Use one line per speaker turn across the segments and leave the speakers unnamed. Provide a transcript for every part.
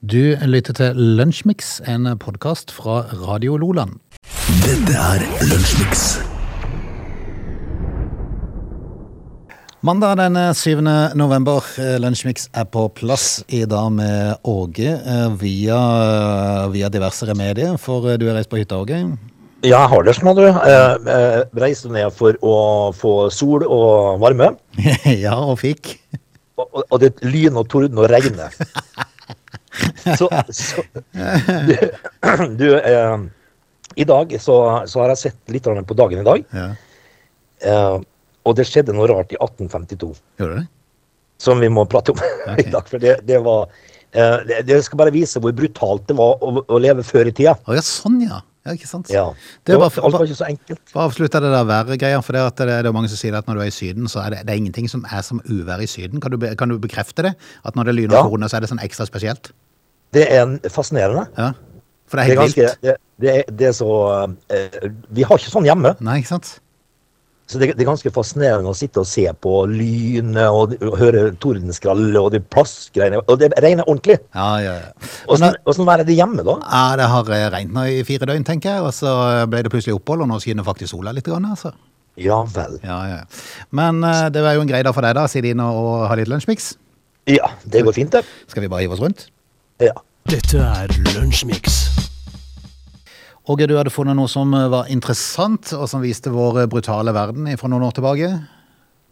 Du lytter til Lunsjmix, en podkast fra Radio Loland.
Dette er Lunsjmix.
Mandag den 7. november, eh, Lunsjmix er på plass i dag med Åge eh, via, eh, via diverse medier, for eh, du har reist på hytta, Åge.
Ja, jeg har det som du. Eh, eh, reiste ned for å få sol og varme.
ja, og fikk.
Og, og- og det er lyn og torden og regn. Så, så Du, du eh, I dag så, så har jeg sett litt grann på dagen i dag,
Ja.
eh, og det skjedde noe rart i 1852
Gjorde du det?
som vi må prate om i dag. For det, det var eh, det, det skal bare vise hvor brutalt det var å, å leve før i tida.
Å ja, sånn ja. Ja, ikke sant.
Ja.
Det var,
alt var
bare,
ikke så enkelt.
bare avslutte det der været-greia, for det, at det, det er jo mange som sier at når du er i Syden, så er det, det er ingenting som er som uvær i Syden. Kan du, be- kan du bekrefte det? At når det lyner
Ja.
og torner, så er det sånn ekstra spesielt?
Det er fascinerende.
Ja. For det er
Det er
helt
ganske,
vilt.
det, det, er, det er så eh, Vi har ikke sånn hjemme.
Nei, ikke sant?
Så det, det er ganske fascinerende å sitte og se på lynet og, og høre tordenskrall og de plaskgreiene. Og det regner ordentlig.
Ja, ja, ja.
Åssen åssen vær sånn er det hjemme, da?
ja det har eh, regnet nå i fire døgn, tenker jeg, og så ble det plutselig opphold, og nå skinner faktisk sola litt, grann, altså.
Ja vel.
Ja, ja. ja. Men eh, det var jo en grei dag for deg, da, å sitte inn og, og ha litt lunsjmix.
Ja, det går fint, det.
Skal vi bare hive oss rundt?
Ja.
Dette er Lunsjmix.
Åge, du hadde funnet noe som eh, var interessant, og som viste vår eh, brutale verden fra noen år tilbake.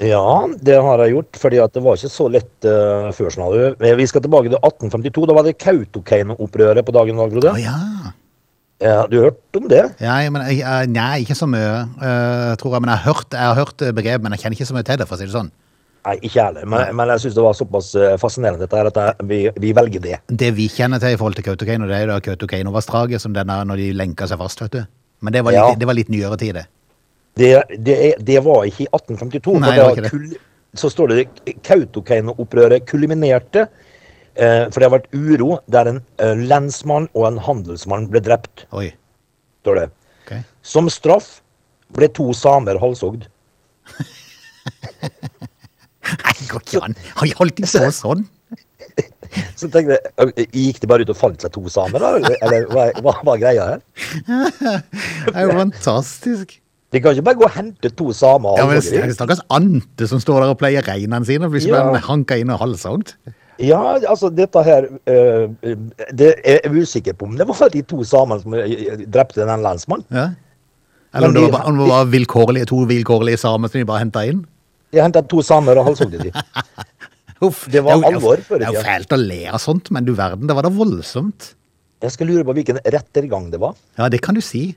ja, det har jeg gjort, fordi at det var ikke så lett eh, før. Sånn, hadde du. Men vi skal tilbake til 1852. Da var det Kautokeino-opprøret på dagen i dag, Frode.
Å ja.
Ja, du har hørt om det?
ja men, jeg- eh, nei, ikke så mye, eh, tror jeg. Men jeg har hørt, jeg har hørt eh, begrep, men jeg kjenner ikke så mye til det, for å si det sånn.
Nei, ikke jeg heller. Men, men jeg syns det var såpass eh, fascinerende dette her at jeg, vi, vi velger det.
Det vi kjenner til i forhold til Kautokeino, det er jo da Kautokeinovassdraget, som denne når de lenka seg fast, vet du. Men det var litt,
Ja.
det var litt nyere tid, det.
Det, det, er- det var ikke i 1852.
Nei,
for
det var
da
ikke det.
kul- Så står det Kautokeino-opprøret kulminerte, eh, for det har vært uro der en eh, lensmann og en handelsmann ble drept.
Oi.
står det.
ok.
Som straff ble to samer halshogd.
Nei, går ikke an. Har de holdt de på sånn?
Så tenkte jeg, eh, Gikk de bare ut og fant seg to samer, da? Eller, eller hva, hva var greia her?
Det er jo fantastisk.
De kan ikke bare gå og hente to samer. og
Ja, men
halshogge de.
Stakkars Ante som står der og pleier reinene sine, og blir
Ja.
ja. hanka inn og halshogd.
Ja, altså dette her eh, det er Jeg er usikker på om det var de to samene som eh, drepte den lensmannen.
Ja. Eller om
Men
det
de-
var, bare- om det var vilkårlige, to vilkårlige samer som de bare henta inn.
De henta to samer og halshogde de.
Uff.
Det var
er jo-
alvor før i
Det er jo
tida.
fælt å le av sånt, men du verden, det var da voldsomt.
Jeg skal lure på hvilken rettergang det var.
Ja, det kan du si.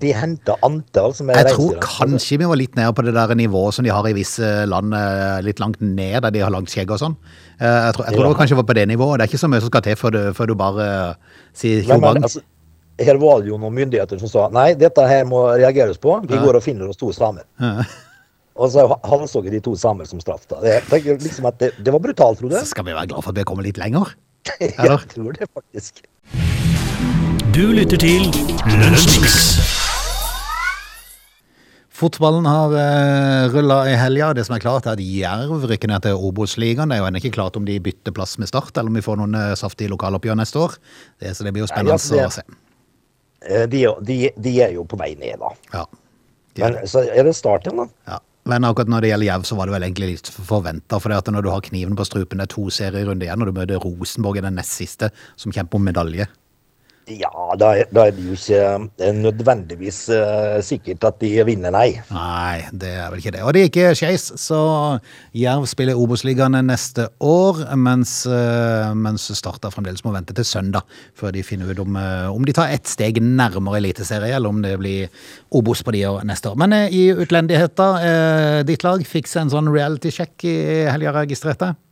De henta antall som er
Jeg tror
reinsdyrene.
kanskje vi var litt nede på det der nivået som de har i visse land, eh, litt langt ned, der de har langt skjegg og sånn. Eh, Jeg tror, jeg tror det var kanskje var på det nivået. Det er ikke så mye som skal til før du, før du bare eh, sier
Nei, men,
tjobang.
altså, her var det jo noen myndigheter som sa nei, dette her må reageres på. Vi går og finner oss to samer. Og så halshogde de to samer som straff. da. Det, jeg tenker liksom at det, det var brutalt, Frode.
Så skal vi være glad for at vi har kommet litt lenger. eller?
Jeg tror det, faktisk.
Du lytter til Lunsjmix.
Fotballen har uh, rulla i helga. Det som er klart, er at Jerv rykker ned til Obos-ligaen. Det er jo ennå ikke klart om de bytter plass med Start, eller om vi får noen eh, saftige lokaloppgjør neste år. Det, så det blir jo
Nei,
spennende
altså, det-
å se.
Eh, De, de, de er jo på vei ned, da.
Ja. De er
Men så er det starten, da.
Ja. Men akkurat når det gjelder Jerv, så var det vel egentlig litt forventa. For det at når du har kniven på strupen, det er to serierunder igjen, og du møter Rosenborg i den nest siste, som kjemper om medalje.
Ja, da er, da er det jo ikke eh, nødvendigvis eh, sikkert at de vinner, nei.
Nei, det er vel ikke det. Og det gikk skeis, så Jerv spiller Obos-ligaen neste år, mens, eh, mens Starta fremdeles må vente til søndag før de finner ut om, eh, om de tar ett steg nærmere Eliteserie, eller om det blir Obos på de år neste år. Men eh, i utlendigheter, eh, ditt lag fikk seg en sånn reality-sjekk i helga, registrerte jeg.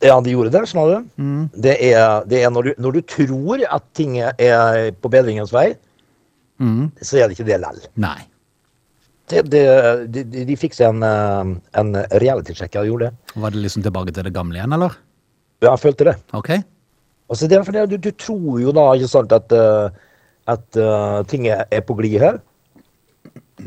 Ja, de gjorde det, skjønner du. Det er, det er når, du, når du tror at ting er på bedringens vei, så er det ikke det lell.
Nei.
Det, det, de, de- de fikk seg en, eh, en reality-sjekk, ja, de gjorde det.
Var det liksom tilbake til det gamle igjen, eller?
Ja, jeg følte det.
Ok.
Og så det er fordi du, du tror jo da, ikke sant, at, eh, at eh, ting er er på glid her.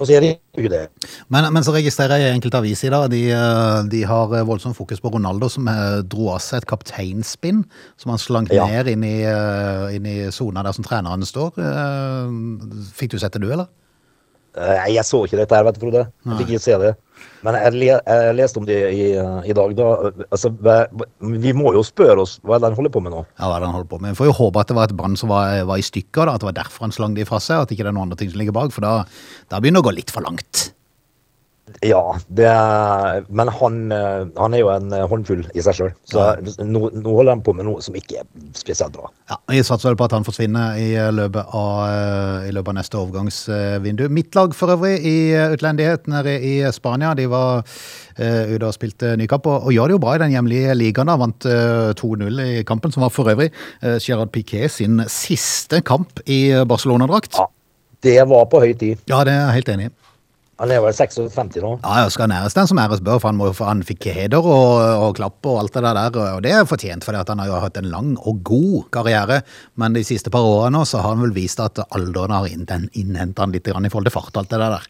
Og så er det jo det.
Men, men så registrerer jeg i enkelte aviser i dag de, eh, de har voldsomt fokus på Ronaldo, som eh, dro av seg et kapteinspinn som han slank
Ja.
ned inn i, eh, inn i sona der som treneren står. Eh, Fikk du sett det, du, eller?
Nei, Eh, jeg så ikke dette her, vet du, Frode. Jeg fikk ikke se det. Men jeg, le, jeg leste om det i, eh, i dag, da. Altså, hva- vi må jo spørre oss hva er det han holder på med nå.
Ja, hva er det han holder på med? Vi får jo håpe at det var et brann som var, var i stykker, da, at det var derfor han slang det fra seg, og at ikke det er noen andre ting som ligger bak, for da, da begynner det å gå litt for langt.
Ja, det er, men han, eh, han er jo en eh, håndfull i seg sjøl. Så nå, nå holder han på med noe som ikke er spesielt bra.
Ja, Jeg satser vel på at han forsvinner i eh, løpet av, eh, i løpet av neste overgangsvindu. Mitt lag for øvrig i eh, utlendighet nede i eh, Spania, de var eh, ute og spilte nykamp, og, og gjør det jo bra i den hjemlige ligaen. da, Vant eh, 2-0 i kampen, som var for øvrig eh, Gerard Piquet sin siste kamp i eh, Barcelona-drakt.
Ja, det var på høy tid.
Ja, det er jeg helt enig i.
Han er vel 56 nå.
Ja, jeg skal næres den som æres bør, for han, må, jo- for han fikk heder og, og klapp og alt det der, og- og det er fortjent, for han har jo hatt en lang og god karriere, men de siste par årene nå så har han vel vist at alderen har innhentet han litt grann i forhold til fart og alt det der.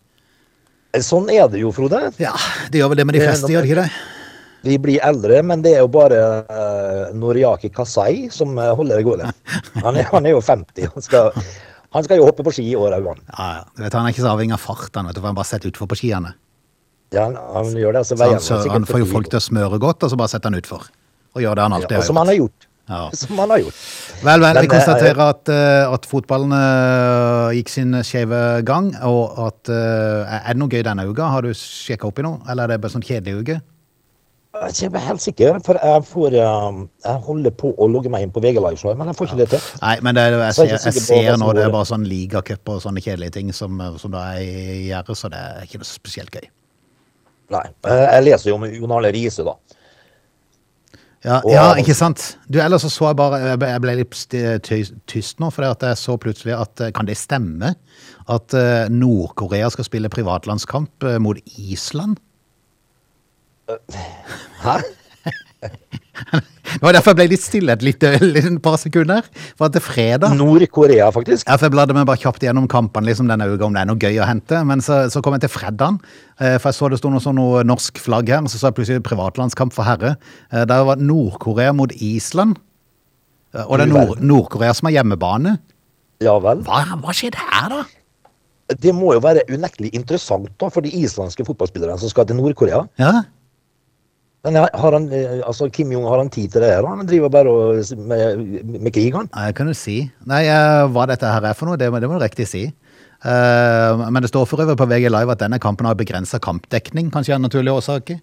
Sånn er det jo, Frode.
Ja, det gjør vel det med de
Det er
fleste,
nok-
gjør det ikke det?
Vi blir eldre, men det er jo bare eh, Noriaki Kasai som eh, holder det gående. Han er, han er jo 50. Han skal, han skal jo hoppe på ski i år, Auan.
Ja, ja. Du vet, han er ikke så avhengig av fart, han, vet du, for han bare setter utfor på skiene.
Ja, han, han gjør det. altså, Så
Så
veier
han, så, han får jo folk til å smøre godt, og så bare setter han utfor. Og gjør det han alltid
ja,
har
Som
gjort.
han har gjort.
Ja.
Som han har gjort.
Vel, vel,
Men
vi
det er-
konstaterer at, eh, at fotballen eh, gikk sin skjeve gang, og at eh, Er det noe gøy denne uka? Har du sjekka opp i noe, eller er det bare sånn kjedelig uke?
Jeg er helt sikker, for jeg, får, eh, jeg holder på å logge meg inn på VG Live, Show, men jeg får ikke det til.
Nei, men det, er- jeg,
Så
ser,
er jeg ikke
jeg
sikker på hva
ser
som
nå det
går.
er bare sånn ligacup og sånne kjedelige ting som, eh, som da er i gjerdet, så det er ikke noe spesielt gøy.
Nei. Eh, Jeg leser jo om Jon Arne Riise, da.
Ja,
Og-
ja, ikke sant? Du, Ellers så, så jeg bare Jeg ble, jeg ble litt st- ty- tyst nå, for jeg så plutselig at eh, Kan det stemme at eh, Nord-Korea skal spille privatlandskamp eh, mot Island?
Hæ?
Det var derfor jeg ble litt stille et lite et par sekunder. For at det er fredag
Nord-Korea, faktisk.
Ja, for Jeg bladde meg bare kjapt gjennom kampene liksom denne uka, om det er noe gøy å hente. Men så, så kom jeg til fredagen, eh, for jeg så det sto noe, sånn noe norsk flagg her. Så så jeg plutselig privatlandskamp for herre. Eh, Der var Nord-Korea mot Island. Eh, Og det er Nord- Nord-Korea som har hjemmebane.
Ja vel.
Hva, hva skjedde her, da?
Det må jo være unektelig interessant da, for de islandske fotballspillerne som skal til Nord-Korea.
Ja,
Men har han, eh, altså Kim Jong har han tid til det her? da? Han driver bare og, s- med, med krig, han.
Nei, jeg kan jo si. Nei, eh, hva dette her er for noe, det, må- det må du riktig si. Eh, men det står for øvrig på VG Live at denne kampen har begrensa kampdekning, kanskje av naturlige årsaker.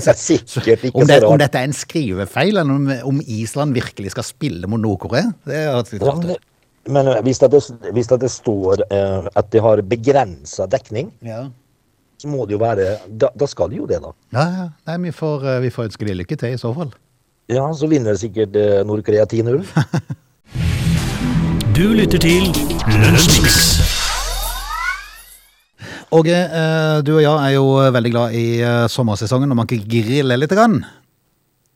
Sikkert ikke
Om, det,
så
om
rart.
dette er en skrivefeil, eller om, om Island virkelig skal spille mot Nord-Korea? Det er rett og slett
Ja,
rart
men
ut.
men eh, hvis, at det, hvis at det står eh, at de har begrensa dekning,
Ja,
så må det jo være Da, da skal de jo det, da.
ja. ja. Nei, vi får, eh, vi får ønske de lykke til i så fall.
Ja, så vinner sikkert eh, Nord-Korea 10-0.
Du lytter til Lunsjmix.
Åge, eh, du og jeg er jo veldig glad i eh, sommersesongen når man kan grille litt. Grann.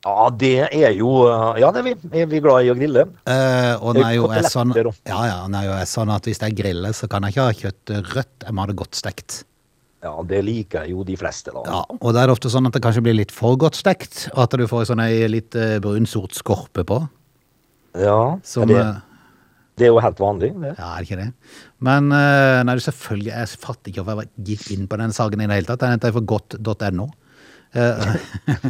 Ja, det er jo eh, Ja, det er vi. Er vi glad i å grille?
Eh, og den er jo
Eh,
er sånn,
koteletter, da.
ja, ja, den er jo er sånn at hvis det er grille, så kan jeg ikke ha kjøttet rødt, jeg må ha det godt stekt.
Ja, det liker jo de fleste, da.
Ja, og da er det ofte sånn at det kanskje blir litt for godt stekt, og at du får sånn ei litt eh, brun sort skorpe på.
Ja,
Som,
det,
eh,
det er jo helt vanlig. Det.
Ja, er det ikke det? Men eh, nei, du, selvfølgelig, jeg fatter ikke hvorfor jeg gikk inn på den saken i det hele tatt. Den heter for godt.no. Eh,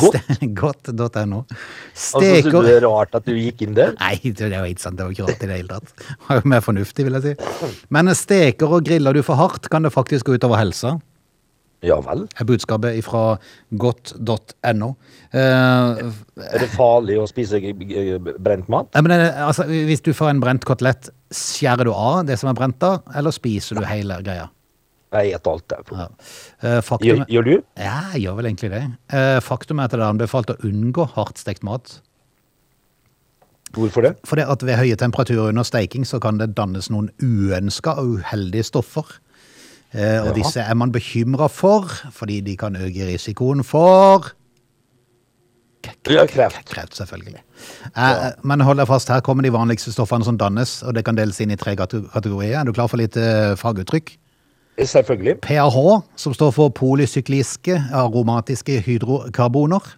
Godt?
ste- Godt.no.
Og så synes du
Steker
det er rart at du gikk inn der?
Nei, det var ikke sant. Det var ikke rart i det hele tatt. Det var jo mer fornuftig, vil jeg si. Men eh, steker og griller du for hardt, kan det faktisk gå utover helsa.
Ja vel.
Er budskapet fra godt.no. Eh,
Er det farlig å spise g- g- brent mat?
Nei, men eh, altså, hvis du får en brent kotelett, skjærer du av det som er brent da, eller spiser du hele greia?
Jeg spiser alt. jeg, Frode.
Ja. Eh, faktum,
Gjør, gjør du?
ja, jeg gjør vel egentlig det. Eh, faktum er at det er anbefalt å unngå hardstekt mat.
Hvorfor det?
For det at ved høye temperaturer under steiking så kan det dannes noen uønska og uheldige stoffer. Eh, og
Ja.
disse er man bekymra for, fordi de kan øke risikoen for
Ja, kreft.
Kreft, selvfølgelig. Eh, men hold deg fast, her kommer de vanligste stoffene som dannes, og det kan deles inn i tre kate- kategorier. Er du klar for litt eh, faguttrykk?
Selvfølgelig.
PAH, som står for polysykliske aromatiske hydrokarboner.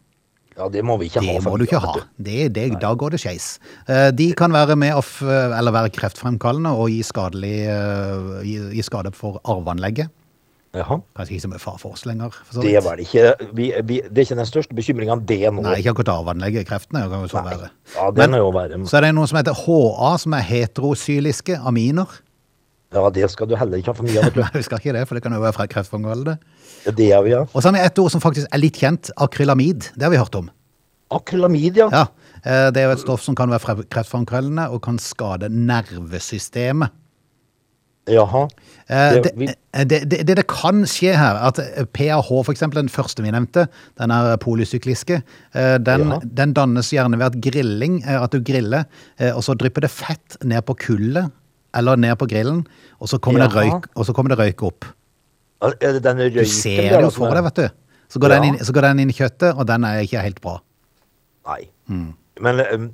Ja, det må vi ikke ha.
Det må
faktisk,
du ikke ha.
vet
Det, det, da går det skeis. Eh, De kan være med å f eh, eller være kreftfremkallende og gi, skadelig, eh, gi, gi skade for arveanlegget.
Jaha.
Kanskje ikke så mye far for oss lenger. For så
Det
vidt.
er vel ikke vi, vi, Det er ikke den største bekymringa, det nå.
Nei, ikke akkurat arveanlegget. Kreftene kan jo så
Nei.
være.
Ja, den
Men-
er jo verre.
Så er det noe som heter HA, som er heterosyliske aminer.
Ja, det skal du heller ikke ha for mye av.
Nei, vi skal ikke det, for det kan jo være fra kreftfremkallende.
vet du. Det er vi, ja.
Og så har vi et ord som faktisk er litt kjent, akrylamid. Det har vi hørt om.
Akrylamid, ja.
Ja, eh, Det er jo et stoff som kan være fre- kreftfremkallende og kan skade nervesystemet.
Jaha.
Eh,
Det-
Det,
vi-
eh, det, det, det det kan skje her, at eh, PAH, for eksempel, den første vi nevnte, den er polysykliske, eh, den,
Ja.
den dannes gjerne ved at grilling, eh, at du griller, eh, og så drypper det fett ned på kullet, eller ned på grillen, og så kommer, det
Jaha.
røyk, og så kommer det røyk opp.
Er er det den
Du
røyken
ser
der,
det jo
altså?
for deg, vet du. Så går, den
Ja.
inn, så går den inn i kjøttet, og den er ikke helt bra.
Nei.
Mm.
Men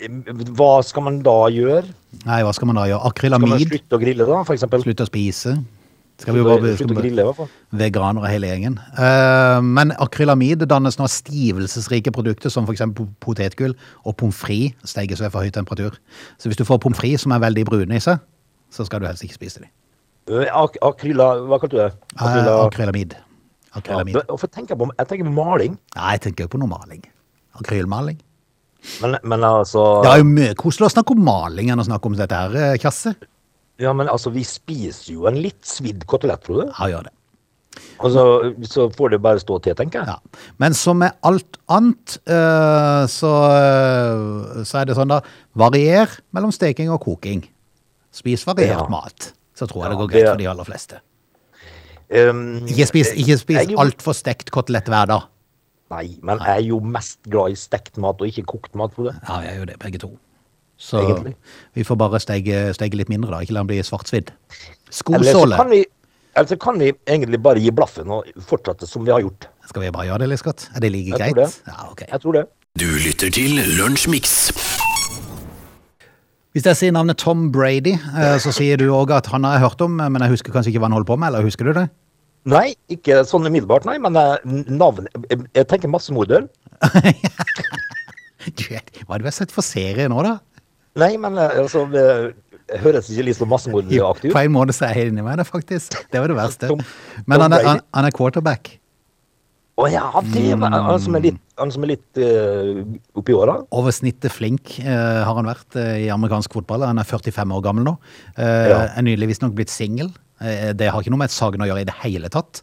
eh, hva skal man da gjøre?
Nei, hva skal man da gjøre?
Skal man
Akrylamid?
slutte å grille, da, for eksempel?
Slutt å spise? Skal vi
Slutte å-
bare,
slutte
skal
å
vi,
grille, i hvert fall.
veganere hele gjengen. Eh, men akrylamid dannes nå av stivelsesrike produkter som f.eks. potetgull og pommes frites steiges ved for høy temperatur. Så hvis du får pommes frites som er veldig brune i seg, så skal du helst ikke spise dem.
Eh, Ak akryla... Hva kalte du det?
Eh, akrylamid.
Ja,
Akrylamid.
det- hvorfor tenker jeg, på, jeg tenker på maling,
Nei, jeg tenker jo på noe maling. Akrylmaling.
men, men altså
Det er jo mye koseligere å snakke om maling enn å snakke om dette her, eh, Kjasse.
Ja, men altså, vi spiser jo en litt svidd kotelett, tror du?
Ja, gjør det.
Og så, så får det bare stå til, tenker jeg.
Ja. Men som med alt annet, eh, så, eh, så er det sånn da Varier mellom steking og koking. Spis variert
Ja.
mat. Så tror jeg
Ja,
det går
det-
greit for de aller fleste.
Ehm,
Ikke spis, ikke
jeg er
spis
jo-
altfor stekt kotelett hver dag.
Nei, men jeg er jo mest glad i stekt mat og ikke kokt mat, tror du.
Ja, vi er jo det, begge to. Så
Egentlig.
vi får bare stege, stege litt mindre, da. Ikke la den bli svartsvidd.
Eller så
Skosåle.
kan vi eller så kan vi egentlig bare gi blaffen og fortsette som vi har gjort.
Skal vi bare gjøre det, Liscott? Er det like
Jeg
greit?
tror det.
Ja, ok.
Jeg tror det.
Du lytter til Lunsjmix.
Hvis jeg sier navnet Tom Brady, eh, så sier du òg at han har jeg hørt om, eh, men jeg husker kanskje ikke hva han holdt på med, eller husker du det?
Nei, ikke sånn umiddelbart, nei, men eh, navn Jeg jeg tenker massemorder.
Du, hva er det vi har sett for serie nå, da?
Nei, men eh, altså det Høres ikke litt så massemorderaktig
På
ut.
en måte så er jeg inni meg det, faktisk. Det var det verste.
Tom-
Men
Tom
han er, han,
Brady.
han er quarterback.
Å ja, det var han som er litt, han som er litt eh, oppi åra.
Over snittet flink eh, har han vært eh, i amerikansk fotball. Han er 45 år gammel nå. Eh,
Ja.
Er nylig visstnok blitt singel. Eh, det har ikke noe med saken å gjøre i det hele tatt.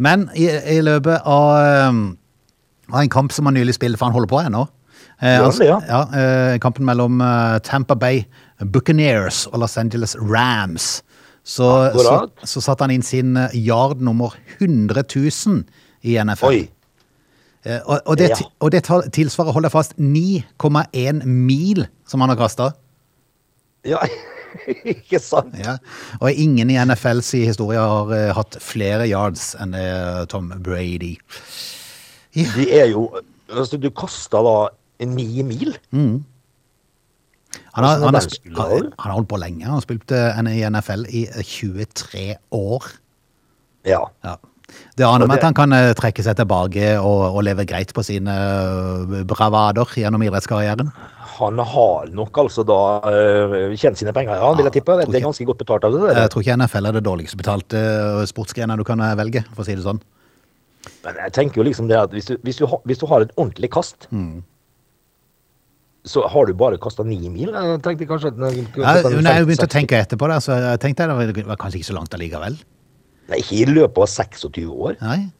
Men i, i løpet av, eh, av en kamp som han nylig spilte, for han holder på ennå eh,
Gjør han
han-
det, ja?
eh, kampen mellom eh, Tampa Bay Buccaneers og Los Angeles Rams. Så, så,
Akkurat.
så satte han inn sin eh, yard nummer 100 000 i NFL.
Oi.
Eh, Og, og, det,
Ja.
ti- og det tal- tilsvarer, hold deg fast, 9,1 mil som han har kasta.
Ja, ikke sant?
Ja. Og ingen i NFLs historie har eh, hatt flere yards enn eh, Tom Brady.
De er jo altså, Du kasta da ni mil?
Han har,
Hvordan
han,
er
har,
den
sp-
skulle ha
han,
det?
han har holdt på lenge. Han har spilt eh, en- i NFL i eh, 23 år.
Ja.
Ja. Det aner
Og
meg
det-
at han kan eh, trekke seg tilbake og, og leve greit på sine eh, bravader gjennom idrettskarrieren.
Han har nok altså da eh, tjent sine penger, ja, vil jeg tippe.
tror
Det
ikke-
er ganske godt betalt av det. der.
Jeg tror ikke NFL er det dårligst betalte eh, sportsgrenen du kan eh, velge, for å si det sånn.
Men jeg tenker jo liksom det at hvis du, hvis du, ha, hvis du har et ordentlig kast, så har du bare kasta ni mil. Jeg tenkte kanskje at den kunne
Ja,
kastet en
men jeg begynte å
50-60.
tenke etterpå, da, så jeg tenkte det var- det var kanskje ikke så langt allikevel.
Nei, ikke i løpet av 26 år.
Nei.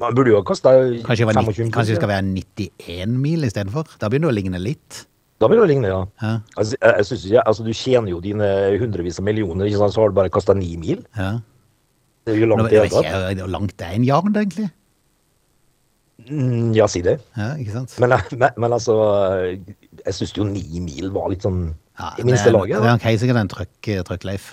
Man burde jo ha kasta
Kanskje, det
25
var nitt-
mil.
kanskje det skal være 91 mil istedenfor? Da begynner det å ligne litt.
Da vil det ligne, ja.
Ja.
Altså, jeg, jeg synes, ikke- altså, du tjener jo dine hundrevis av millioner, ikke sant? så har du bare kasta ni mil.
Ja.
Det er jo
Nå
langt
vet
i det
ikke
hele
jeg
tatt.
hvor langt det er en yard, egentlig.
Mm, Ja, si det.
Ja, ikke sant?
Men, men, men altså Jeg syns jo ni mil var litt sånn
Ja,
i minste
det er-
laget.
Det
da.
er helt sikkert en trøkk- eh, trøkk-Leif.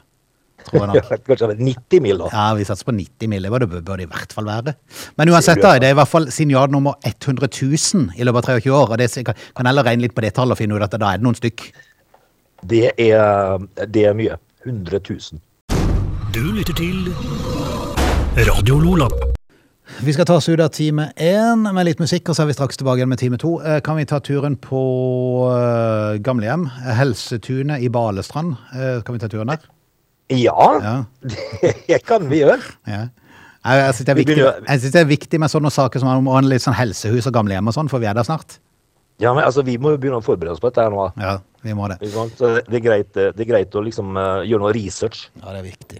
Tror jeg nok.
Ja, Kanskje det er 90 mil, da.
Ja, vi satser på 90 mil. Det bør det, bør det i hvert fall være. Men uansett,
Det
da,
gjør det.
det er i hvert fall signal nummer 100 000 i løpet av 23 år. Og det kan- kan heller regne litt på det tallet og finne ut at da er det noen stykk.
Det er, det er mye. 100 000.
Du lytter til Radio Lola.
Vi skal ta oss ut av time én med litt musikk, og så er vi straks tilbake igjen med time to. Eh, Kan vi ta turen på eh, gamlehjem? Helsetunet i Balestrand. Eh, Kan vi ta turen der?
Ja,
Ja.
det kan vi gjøre.
ja. Jeg, jeg syns det, er
Vi
viktig-
begynner-
jeg synes det er viktig med sånne saker som om litt sånn helsehus og gamlehjem og sånn, for vi er der snart.
Ja, men altså, Vi må jo begynne å forberede oss på dette her nå. da.
Ja, vi må det.
Ikke sant? Så Det er greit, eh, det er greit å liksom eh, gjøre noe research.
Ja, det er viktig.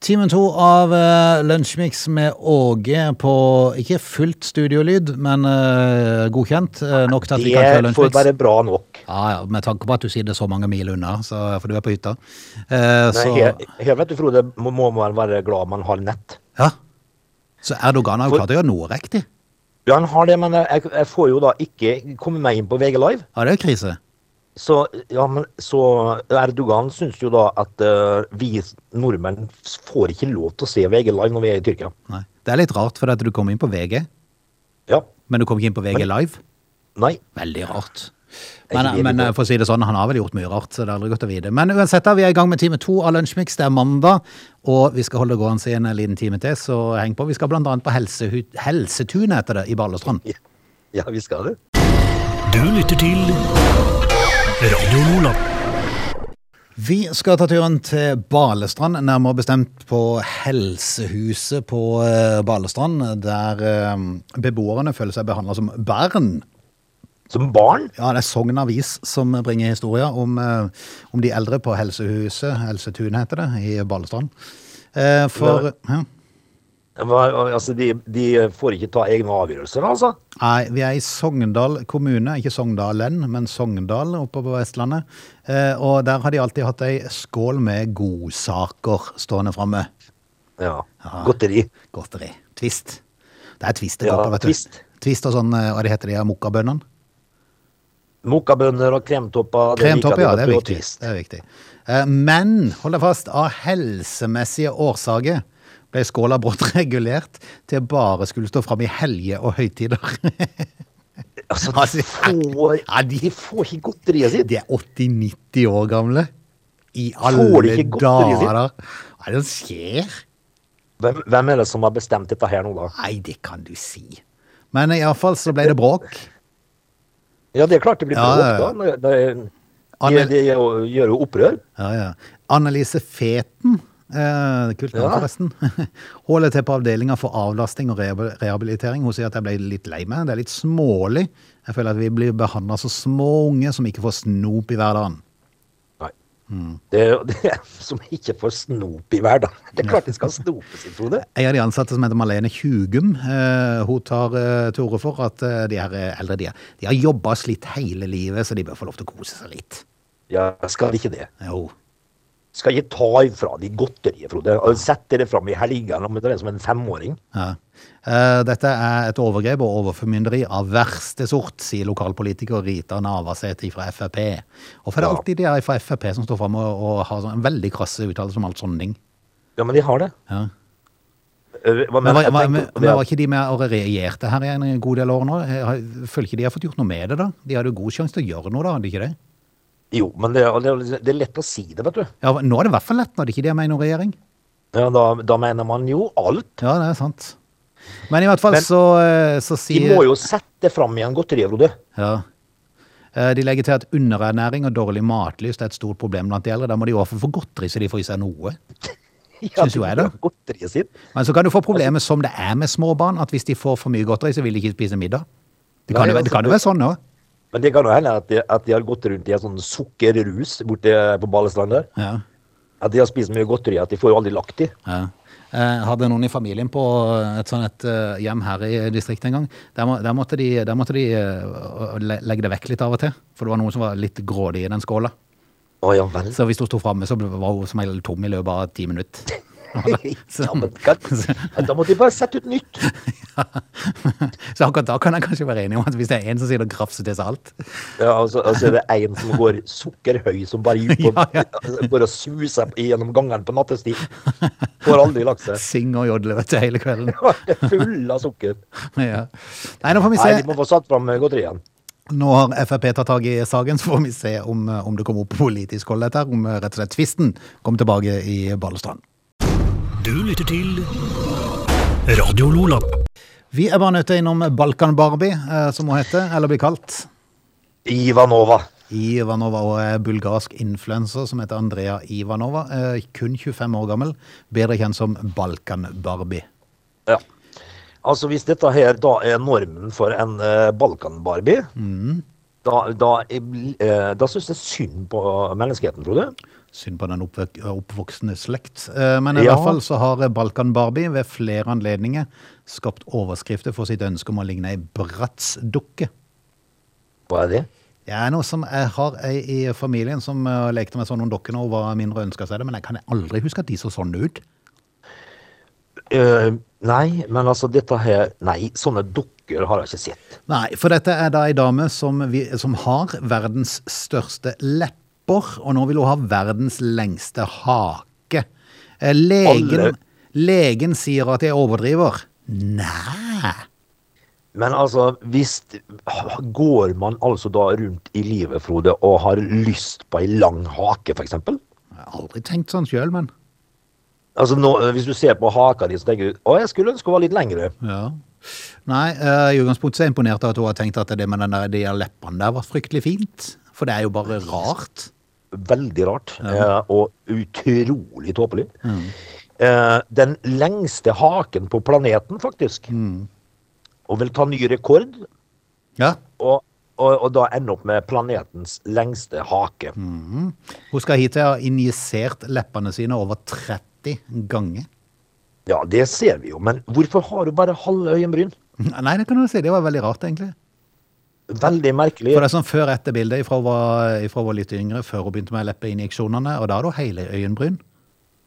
Time to av uh, Lunsjmix med Åge på ikke fullt studiolyd, men eh, godkjent. eh, nok til at vi
Det
kan kjøre
får
Lunsjmix.
være bra nok.
Ja, ja, med tanke på at du sier det så mange mil unna, så, for du er på hytta. Eh,
Nei,
så,
her, her vet du, Frode, må må man være glad man har nett.
ja. så Erdogan har jo
For-
klart å gjøre noe riktig.
Ja, han har det, men jeg, jeg får jo da ikke komme meg inn på VG Live.
Ja, det er jo krise.
Så, ja, men, så Erdogan syns jo da at eh, vi nordmenn får ikke lov til å se VG Live når vi er i Tyrkia.
Nei. Det er litt rart, for at du kom inn på VG,
Ja.
men du kom ikke inn på VG Live.
Nei.
Veldig rart.
Jeg er
Men,
ikke enig
men
i det.
eh, for å si det sånn, han har vel gjort mye rart, så det er aldri godt å vite. Men uansett, da, vi er i gang med time to av Lunsjmix. Det er mandag, og vi skal holde det gående i en liten time til, så heng på. Vi skal blant annet på Helsehu- Helsetunet, heter det, i Balestrand.
Ja, ja vi skal det.
Du lytter til Radio Lola.
Vi skal ta turen til Balestrand, nærmere bestemt på Helsehuset på eh, Balestrand, der eh, beboerne føler seg behandla som barn.
Som barn?
Ja, det er Sogn Avis som bringer historier om, eh, om de eldre på Helsehuset, Helsetun heter det, i Balestrand. Eh, For hæ?
Hva- Altså, de, de får ikke ta egne avgjørelser, altså?
Nei, vi er i Sogndal kommune, ikke Sogndalen, men Sogndal oppe på Vestlandet. Eh, Og der har de alltid hatt ei skål med godsaker stående framme.
Ja. Godteri.
Godteri. Twist. Det er twist det går på,
Ja,
vet du.
twist.
Twist og sånn, eh, hva de heter de, mokkabønnene?
Mokkabønner og kremtopper. det liker
Kremtopper,
de,
ja,
vet
det er
du, og
viktig.
twist.
Det er viktig. Eh, Men, hold deg fast, av helsemessige årsaker ble skåla brått regulert til bare skulle stå fram i helger og høytider.
Altså,
Altså,
de får,
ja, de-
de får ikke godteriet sitt.
De er 80-90 år gamle. I
Får de
alle
ikke godteri sitt?
dager. Hva er det som skjer?
Hvem, hvem er det som har bestemt dette her nå, da?
Nei, det kan du si. Men iallfall så ble det bråk.
Ja, det er klart det blir
Ja,
bråk,
ja,
da. når- når- De,
Annel-
de gjør jo- gjør jo opprør.
Ja, ja. Annelise Feten, eh, kult navn
Ja.
forresten, holder til på avdelinga for avlasting og rehabil- rehabilitering. Hun sier at jeg ble litt lei meg. Det er litt smålig. Jeg føler at vi blir behandla som små unge som ikke får snop i hverdagen.
Nei.
Mm.
Det er jo det er som ikke får snop i hverdagen. Det er klart de skal snope sin, Frode.
En av de ansatte som heter Malene Tjugum, eh, hun tar eh, til orde for at eh, de her eh, eldre de, er- de har jobba og slitt hele livet, så de bør få lov til å kose seg litt.
Ja, skal de ikke det?
Jo.
Skal ikke ta ifra de godteriet, Frode. og Sette det fram i helgene om det er som en femåring.
Ja. Eh, Dette er et overgrep og overformynderi av verste sort, sier lokalpolitiker Rita Navarsete fra Frp. Hvorfor er det
Ja.
alltid de her fra Frp som står fram og, og har sånn, veldig krasse uttalelser om alt sånne ting?
Ja, men de har det.
Ja.
Eh, Hva
Men,
mener
var,
jeg?
var,
tenker
men,
på
men
det
var
at-
ikke de med og regjerte her i en god del år nå? Eh, har- Føler ikke de har fått gjort noe med det, da? De hadde jo god sjanse til å gjøre noe, da, hadde de ikke det?
Jo, men det, er- det er- det er lett å si det, vet du.
Ja, nå er det i hvert fall lett når det ikke de er med i noen regjering.
Ja, da, da mener man jo alt.
Ja, det er sant. Men i hvert fall
Men-
så, eh, så
De
sier
må jo sette fram igjen godteriet, Frode.
Ja. Eh, De legger til at underernæring og dårlig matlyst er et stort problem blant de eldre. Da må de jo iallfall få godteri så de får i seg noe.
Ja,
Synes jo
de
jeg
må
det.
ha Godteriet sitt.
Men så kan du få problemet som det er med små barn, at hvis de får for mye godteri, så vil de ikke spise middag. Det kan,
Nei,
jo, være- det
altså,
kan jo være sånn òg.
Men det kan jo hende at de, at de har gått rundt i en sånn sukkerrus borte på Balestrand der.
Ja.
At de har spist mye godteri, at de får jo aldri lagt i.
Ja. Jeg hadde noen i familien på et sånt et eh, hjem her i distriktet en gang. Der, må, der måtte de, der måtte de eh, le- legge det vekk litt av og til, for det var noen som var litt grådig i den skåla.
Å ja vel.
Så hvis hun sto framme, så ble- var hun som regel tom i løpet av ti minutter. Så-
Ja, men kan, ja, da må de bare sette ut nytt.
Så akkurat da kan jeg kanskje være enig om at hvis det er en som sier det grafser til seg alt
Ja, og så og så er det en som går sukkerhøy, som bare gikk på,
Ja,
går og suser gjennom gangen på nattestid. Får aldri lagt seg.
Syng og jodle vet du, hele kvelden.
Full av sukker.
Ja. Nei, nå får vi
Nei, de
se.
må få satt fram eh, godteriet.
Nå har Frp tatt tak i saken, så får vi se om, eh, om det kommer opp på politisk hold, dette her. Om eh, rett og slett tvisten kommer tilbake i Balestrand.
Du lytter til Radio Lola.
Vi er bare nødt til å innom Balkan-Barbie, eh, som hun heter, eller blir kalt.
Ivanova.
Ivanova og er bulgarsk influenser som heter Andrea Ivanova. eh, Kun 25 år gammel, bedre kjent som Balkan-Barbie.
Ja. Altså, hvis dette her da er normen for en eh, Balkan-Barbie, da, da, eh, da syns jeg synd på menneskeheten, tror du?
Synd på den oppvek oppvoksende slekt. Eh, Men i
Ja.
hvert fall så har Balkan-Barbie ved flere anledninger skapt overskrifter for sitt ønske om å ligne ei bratsdukke.
Hva er det?
Det er noe som jeg har ei i familien som eh, lekte med sånn noen dokker når hun var mindre og ønska seg det, men jeg kan aldri huske at de så sånn ut.
Eh, nei, men altså, dette her Nei, sånne dukker har jeg ikke sett.
Nei, for dette er da ei dame som, vi, som har verdens største lepper, og nå vil hun ha verdens lengste hake. Eh, Legen,
Alle-
legen sier at jeg overdriver. Nei.
Men altså, hvis Går man altså da rundt i livet, Frode, og har lyst på ei lang hake, f.eks.?
Jeg har aldri tenkt sånn sjøl, men
Altså, nå, hvis du ser på haka di, så tenker du å, jeg skulle ønske hun var litt lengre.
ja. Nei, eh, i utgangspunktet så er jeg imponert over at hun har tenkt at det med den der, de der leppene der var fryktelig fint. For det er jo bare rart.
Veldig rart, eh, og utrolig tåpelig.
Mm.
Eh, den lengste haken på planeten, faktisk.
Mm.
Og vil ta ny rekord,
Ja.
og, og, og da ende opp med planetens lengste hake.
Mm. Hun skal hit til å ha injisert leppene sine over 30 ganger.
Ja, det ser vi jo, men hvorfor har du bare halve øyenbryn?
Nei, det kan du si. Det var veldig rart, egentlig.
Veldig merkelig.
For det er sånn før etter bildet fra hun var, ifra hun var litt yngre, før hun begynte med leppeinjeksjonene, og da er det jo hele øyenbryn.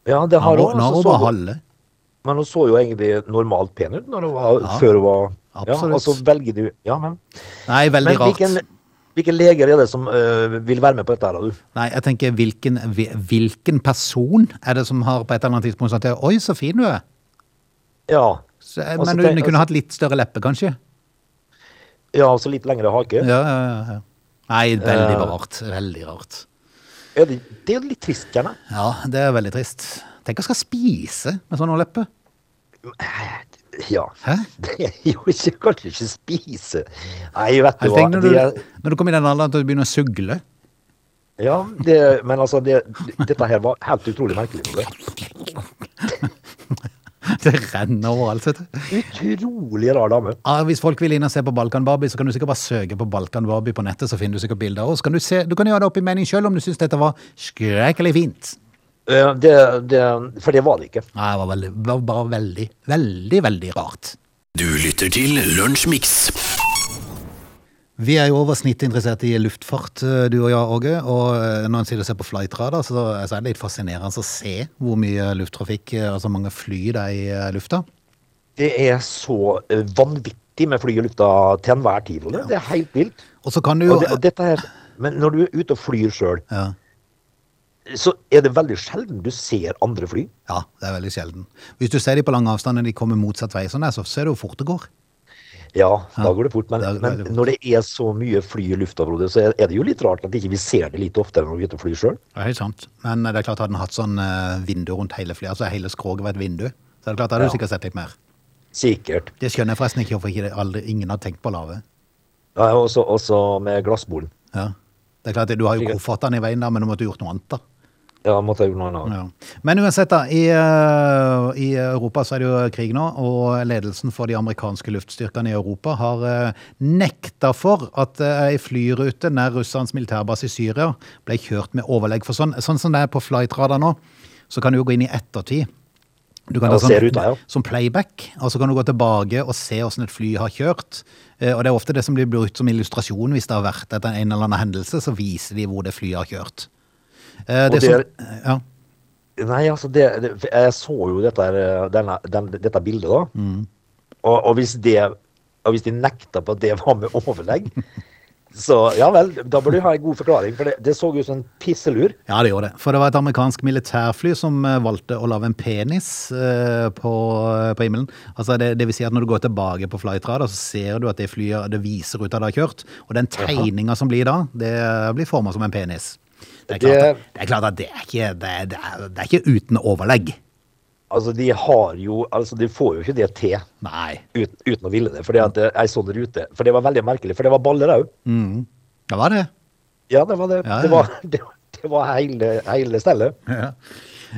Ja, det
Nå
har
er
hun.
hun- nå er
altså,
hun
så
bare
hun-
halve.
Men hun så jo egentlig normalt pen ut når hun var,
Ja,
før hun var Ja,
absolutt.
altså velger du Ja, men,
Nei, veldig
men
rart.
hvilken, hvilken leger er det som øh, vil være med på dette her, da, du?
Nei, jeg tenker hvilken, hvil- hvilken person er det som har på et eller annet tidspunkt sagt Oi, så fin du er.
Ja.
Så, eh,
Og så
men du
tenk-
kunne hatt litt større leppe, kanskje?
Ja, altså litt lengre hake.
Ja, ja, ja. Nei, veldig
Eh.
rart. Veldig rart.
Er det, det er jo litt trist, gjerne.
Ja, det er veldig trist. Tenk å skal spise med sånn leppe.
Ja.
Hæ?
Det er jo ikke, kanskje ikke spise Nei, vet du
Jeg
hva.
tenker når
Det
du,
er,
når du kommer i den alderen til å begynne å sugle.
ja, det, men altså, det, dette her var helt utrolig merkelig. Ole.
Det renner overalt, vet du.
Utrolig rar dame.
Ja, hvis folk vil inn og se på Balkan-Barbie, så kan du sikkert bare søke på Balkan-Barbie på nettet, så finner du sikkert bilder av oss. Kan du, se, du kan gjøre det opp i mening sjøl om du syns dette var skrekkelig fint.
Eh, Det, det, for det var det ikke.
Nei, det var, veldig, det var bare veldig, veldig, veldig rart.
Du lytter til Lunsjmix.
Vi er jo over snittet interessert i luftfart, eh, du og jeg, Åge. Og eh, når en sitter og ser på flightradar, så eh, så er det litt fascinerende å se hvor mye lufttrafikk, eh, altså mange fly, det er i eh, lufta.
Det er så eh, vanvittig med fly i lufta til enhver tid. Ole. Det er helt vilt.
Og så kan du jo
Og det, og dette her, men når du er ute og flyr sjøl,
ja.
så er det veldig sjelden du ser andre fly.
ja, det er veldig sjelden. Hvis du ser de på lang avstand når de kommer motsatt vei, sånn der, så ser du hvor fort det går.
Ja, da går det fort. Men,
Da går det
men
veldig fort.
når det er så mye fly i lufta, Frode, så er er det jo litt rart at ikke vi ser det litt oftere når vi er ute og flyr sjøl.
Det er helt sant. Men det er klart hadde den hatt sånn eh, vindu rundt hele flyet, altså hele skroget var et vindu, så er det klart hadde du
Ja.
sikkert sett litt mer.
Sikkert.
Det skjønner jeg forresten ikke hvorfor ikke det aldri, ingen har tenkt på å lage.
Ja, også, også med glassbolen.
Ja. Det er klart, at Du har jo
Sikkert.
koffertene i veien, der, men du måtte gjort noe annet. da.
Ja, måtte jeg gjort noe annet.
Ja. Men uansett, da. I, eh, I Europa så er det jo krig nå, og ledelsen for de amerikanske luftstyrkene i Europa har eh, nekta for at eh, ei flyrute nær Russlands militærbase i Syria ble kjørt med overlegg. For sånn, sånn som det er på flightradar nå, så kan du jo gå inn i ettertid. Du kan
Ja,
ta sånn
og se ruta, ja.
som playback, og så kan du gå tilbake og se hvordan et fly har kjørt. Eh, Og det er ofte det som blir brukt som illustrasjon hvis det har vært etter en eller annen hendelse, så viser de hvor det flyet har kjørt. Eh,
Og
Det som,
det
ja.
Nei, altså, det, det, for jeg så jo dette, her, eh, denne, den, dette bildet, da.
Mm.
Og, og, hvis det, og hvis de nekta på at det var med overlegg, så ja vel, da bør du ha en god forklaring. For det, det så ut som en pisselur.
Ja, det gjorde det. For det var et amerikansk militærfly som eh, valgte å lage en penis eh, på, på himmelen. Altså, det, det vil si at når du går tilbake på flightradar, så ser du at det flyet det viser ut at det har kjørt. Og den tegninga som blir da, det eh, blir forma som en penis. Det er klart at det er, klart at det er, ikke, det er, det er, det er ikke uten overlegg.
Altså, de har jo Altså, de får jo ikke det til
Nei.
uten, uten å ville det. Fordi at eh, ei sånn rute For det var veldig merkelig. For det var baller òg.
Det var det.
Ja, det var det.
Ja, ja.
Det var, det, det var hele, hele stellet.
Ja.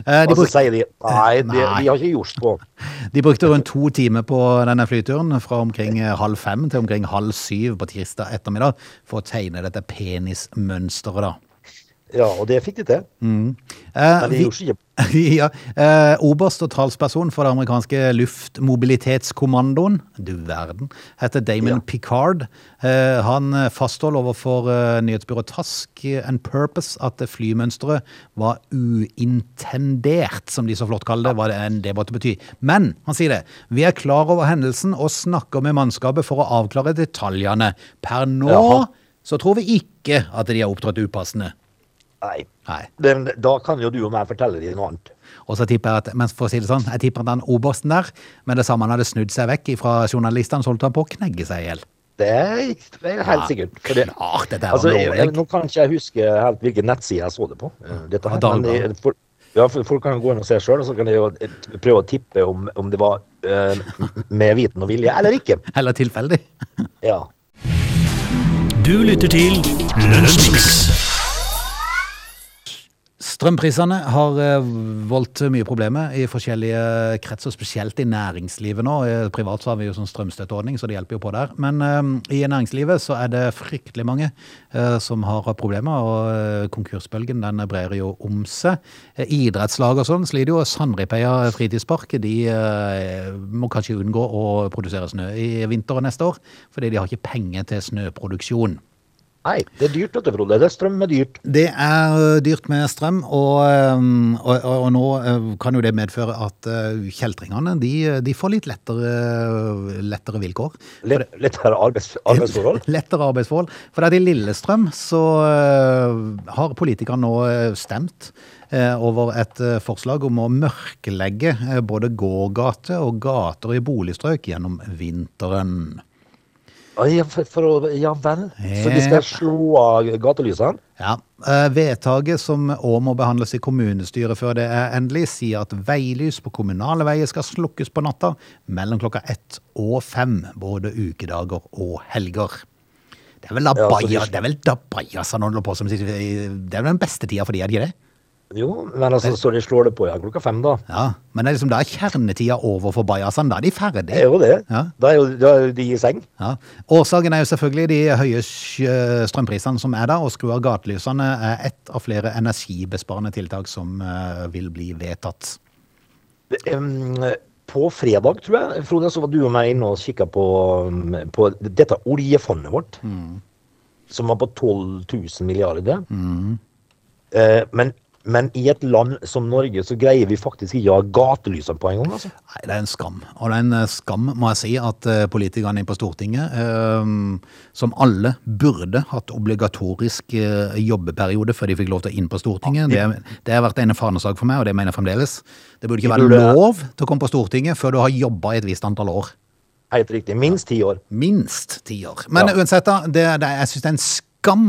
Eh,
Og
De,
så
bruk,
sier de nei, de,
Nei.
de har ikke gjort på.
de brukte rundt to timer på denne flyturen, fra omkring eh, halv fem til omkring halv syv på tirsdag ettermiddag, for å tegne dette penismønsteret, da.
Ja, og det fikk de til.
Eh,
Men de
vi-
gjorde ikke
ja, eh, oberst og talsperson for det amerikanske luftmobilitetskommandoen, du verden, heter Damon
Ja.
Picard. Eh, han eh, fastholdt overfor eh, nyhetsbyrået Task eh, and Purpose at eh, flymønsteret var uintendert, som de så flott kaller det, hva det enn det måtte bety. Men, han sier det, vi er klar over hendelsen og snakker med mannskapet for å avklare detaljene. Per nå
Jaha.
så tror vi ikke at de har opptrådt upassende.
Nei.
Nei.
Men da kan jo du og meg fortelle dem noe annet.
Og så tipper jeg at, men for å si det sånn, jeg tipper at han obersten der, med det samme han hadde snudd seg vekk fra journalistene, så holdt han på å knegge seg i hjel.
Det er, det er helt
Ja,
sikkert. For det,
klart dette er
altså,
en
jeg,
overlegg.
jeg, nå kan ikke jeg huske helt hvilken nettside jeg så det på. eh, Dette her.
Ja,
Men jeg- for, ja, for folk kan jo gå inn og se sjøl, og så kan de jo eh, prøve å tippe om, om det var eh, med viten og vilje eller ikke.
Eller tilfeldig.
Ja.
Du lytter til Lunsjmix.
Strømprisene har eh, voldt mye problemer i forskjellige kretser, spesielt i næringslivet nå. Eh, Privat så har vi jo sånn strømstøtteordning, så det hjelper jo på der. Men eh, i næringslivet så er det fryktelig mange eh, som har hatt problemer, og eh, konkursbølgen den brer jo om seg. Eh, idrettslag og sånn sliter jo. Sandripeia fritidspark de eh, må kanskje unngå å produsere snø i vinter og neste år, fordi de har ikke penger til snøproduksjon.
Nei, det er dyrt, vet du, Frode. Det er strøm er dyrt.
Det er ø, dyrt med strøm, og, ø, og, og, og nå ø, kan jo det medføre at ø, kjeltringene de, de får litt lettere, ø, lettere vilkår.
Litt, litt her arbeids, arbeidsforhold.
Lettere arbeidsforhold. For at i Lillestrøm så ø, har politikerne nå ø, stemt ø, over et ø, forslag om å mørklegge ø, både gågater og gater i boligstrøk gjennom vinteren.
Å, Ja, for, for, å- ja vel. Så de
Yep.
skal slå av gatelysene?
Ja, eh, Vedtaket som òg må behandles i kommunestyret før det er endelig, sier at veilys på kommunale veier skal slukkes på natta mellom klokka ett og fem, både ukedager og helger. Det er vel da
Ja, så de-
baja- det er vel da bajasen han holder på som sitter i- Det er vel den beste tida for de, er det ikke det?
Jo, men altså, så de slår det på igjen klokka fem, da.
Ja, Men det er liksom da er kjernetida over for bajasene. Da er de
Det er
ferdige.
jo det.
Ja.
Da er jo da er de i seng.
Ja. Årsaken er jo selvfølgelig de høye sjø- strømprisene som er der, og skru av gatelysene er ett av flere energibesparende tiltak som eh, vil bli vedtatt.
Det, em, På fredag, tror jeg, Frode, så var du og meg inne og kikka på, em, på dette oljefondet vårt.
Mm.
Som var på 12 000 milliarder.
Mm.
Eh, men, men i et land som Norge så greier vi faktisk ikke å ha gatelysene på engang. Altså.
Nei, det er en skam. Og det er en eh, skam, må jeg si, at eh, politikerne på Stortinget, eh, som alle burde hatt obligatorisk eh, jobbeperiode før de fikk lov til å inn på Stortinget, det, er- det har vært en fanesak for meg, og det mener jeg fremdeles. Det burde ikke
De
være
burde-
lov til å komme på Stortinget før du har jobba i et visst antall år.
Helt riktig. Minst ti år.
Minst ti år. Men
Ja.
uansett, da, det, det, jeg syns det er en skam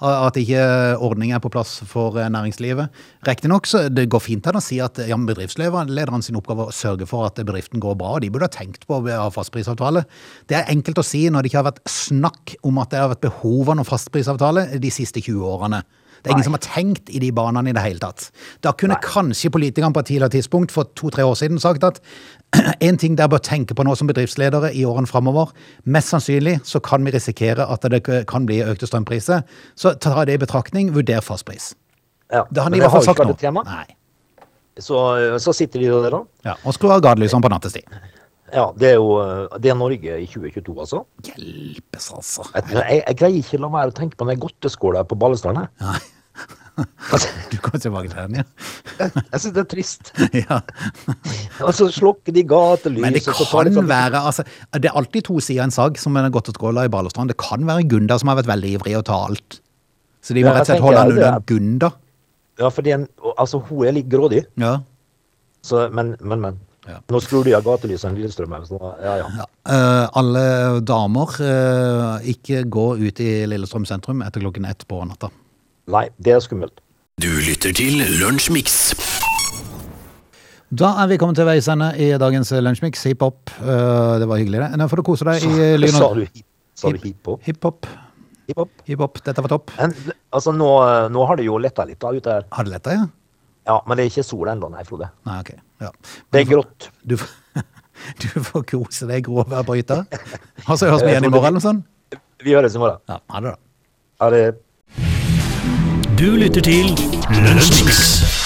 a- at ikke ordning er på plass for eh, næringslivet. Riktignok så det går fint an å si at ja, men bedriftslederen sin oppgave er å sørge for at bedriften går bra, og de burde ha tenkt på å ha fastprisavtale. Det er enkelt å si når det ikke har vært snakk om at det har vært behov for noen fastprisavtale de siste 20 årene. Det er ingen
Nei.
som har tenkt i de banene i det hele tatt. Da kunne kanskje politikerne på et tidligere tidspunkt for to-tre år siden sagt at en ting dere bør tenke på nå som bedriftsledere i årene framover, mest sannsynlig så kan vi risikere at det k- kan bli økte strømpriser, så ta det i betraktning, vurder fastpris.
Ja.
Det har
Men
de i
det
hvert fall sagt
har jo ikke vært
nå.
et tema.
Nei.
Så, så sitter de der, da.
Ja, og skru av gatelysene på nattestid.
Ja, det er jo eh, det er Norge i 2022, altså.
Hjelpes, altså.
Jeg, jeg, jeg greier ikke å la være å tenke på den godteskåla på Balestrand. jeg.
Nei. Du kom tilbake til den, ja.
Altså, Jeg syns det er trist.
Ja.
Og så slukker Altså, de gatelys.
Men det
og så tar de
kan
sånn-
være altså, Det er alltid to sider av en sag, som er godt å skråle i Balestrand. Det kan være Gunda som har vært veldig ivrig og ta alt. Så de må
Ja,
rett og slett
jeg
holde
tenker
han
det
unna
er-
Gunda.
Ja, fordi en, og- altså, hun er litt grådig,
Ja.
så men, men. men.
Ja.
Nå skrur de av gatelysene i Lillestrøm. her, så da- Ja, ja.
Ja. Eh, alle damer, eh, ikke gå ut i Lillestrøm sentrum etter klokken ett på natta.
Nei, det er skummelt.
Du lytter til Lunsjmix.
Da er vi kommet til veis ende i dagens Lunsjmix. Hiphop. Uh, det var hyggelig, det. Nå får du kose deg i lyn
Sa
og
du hip- sa du hiphop?
Hiphop.
Hiphop?
Hiphop. Dette var topp.
Men, altså, nå, nå har det jo letta litt da, ute her.
Har du lett deg? Ja?
Ja, Men det er ikke sol ennå, nei, Frode.
Nei, OK. Ja.
Det er grått.
Du, får- du får kose deg gråværbryter. Og så høres vi igjen i morgen eller noe sånt.
Vi høres i morgen.
Ja, ha det da.
Ha det.
Du lytter til Lunsjmix.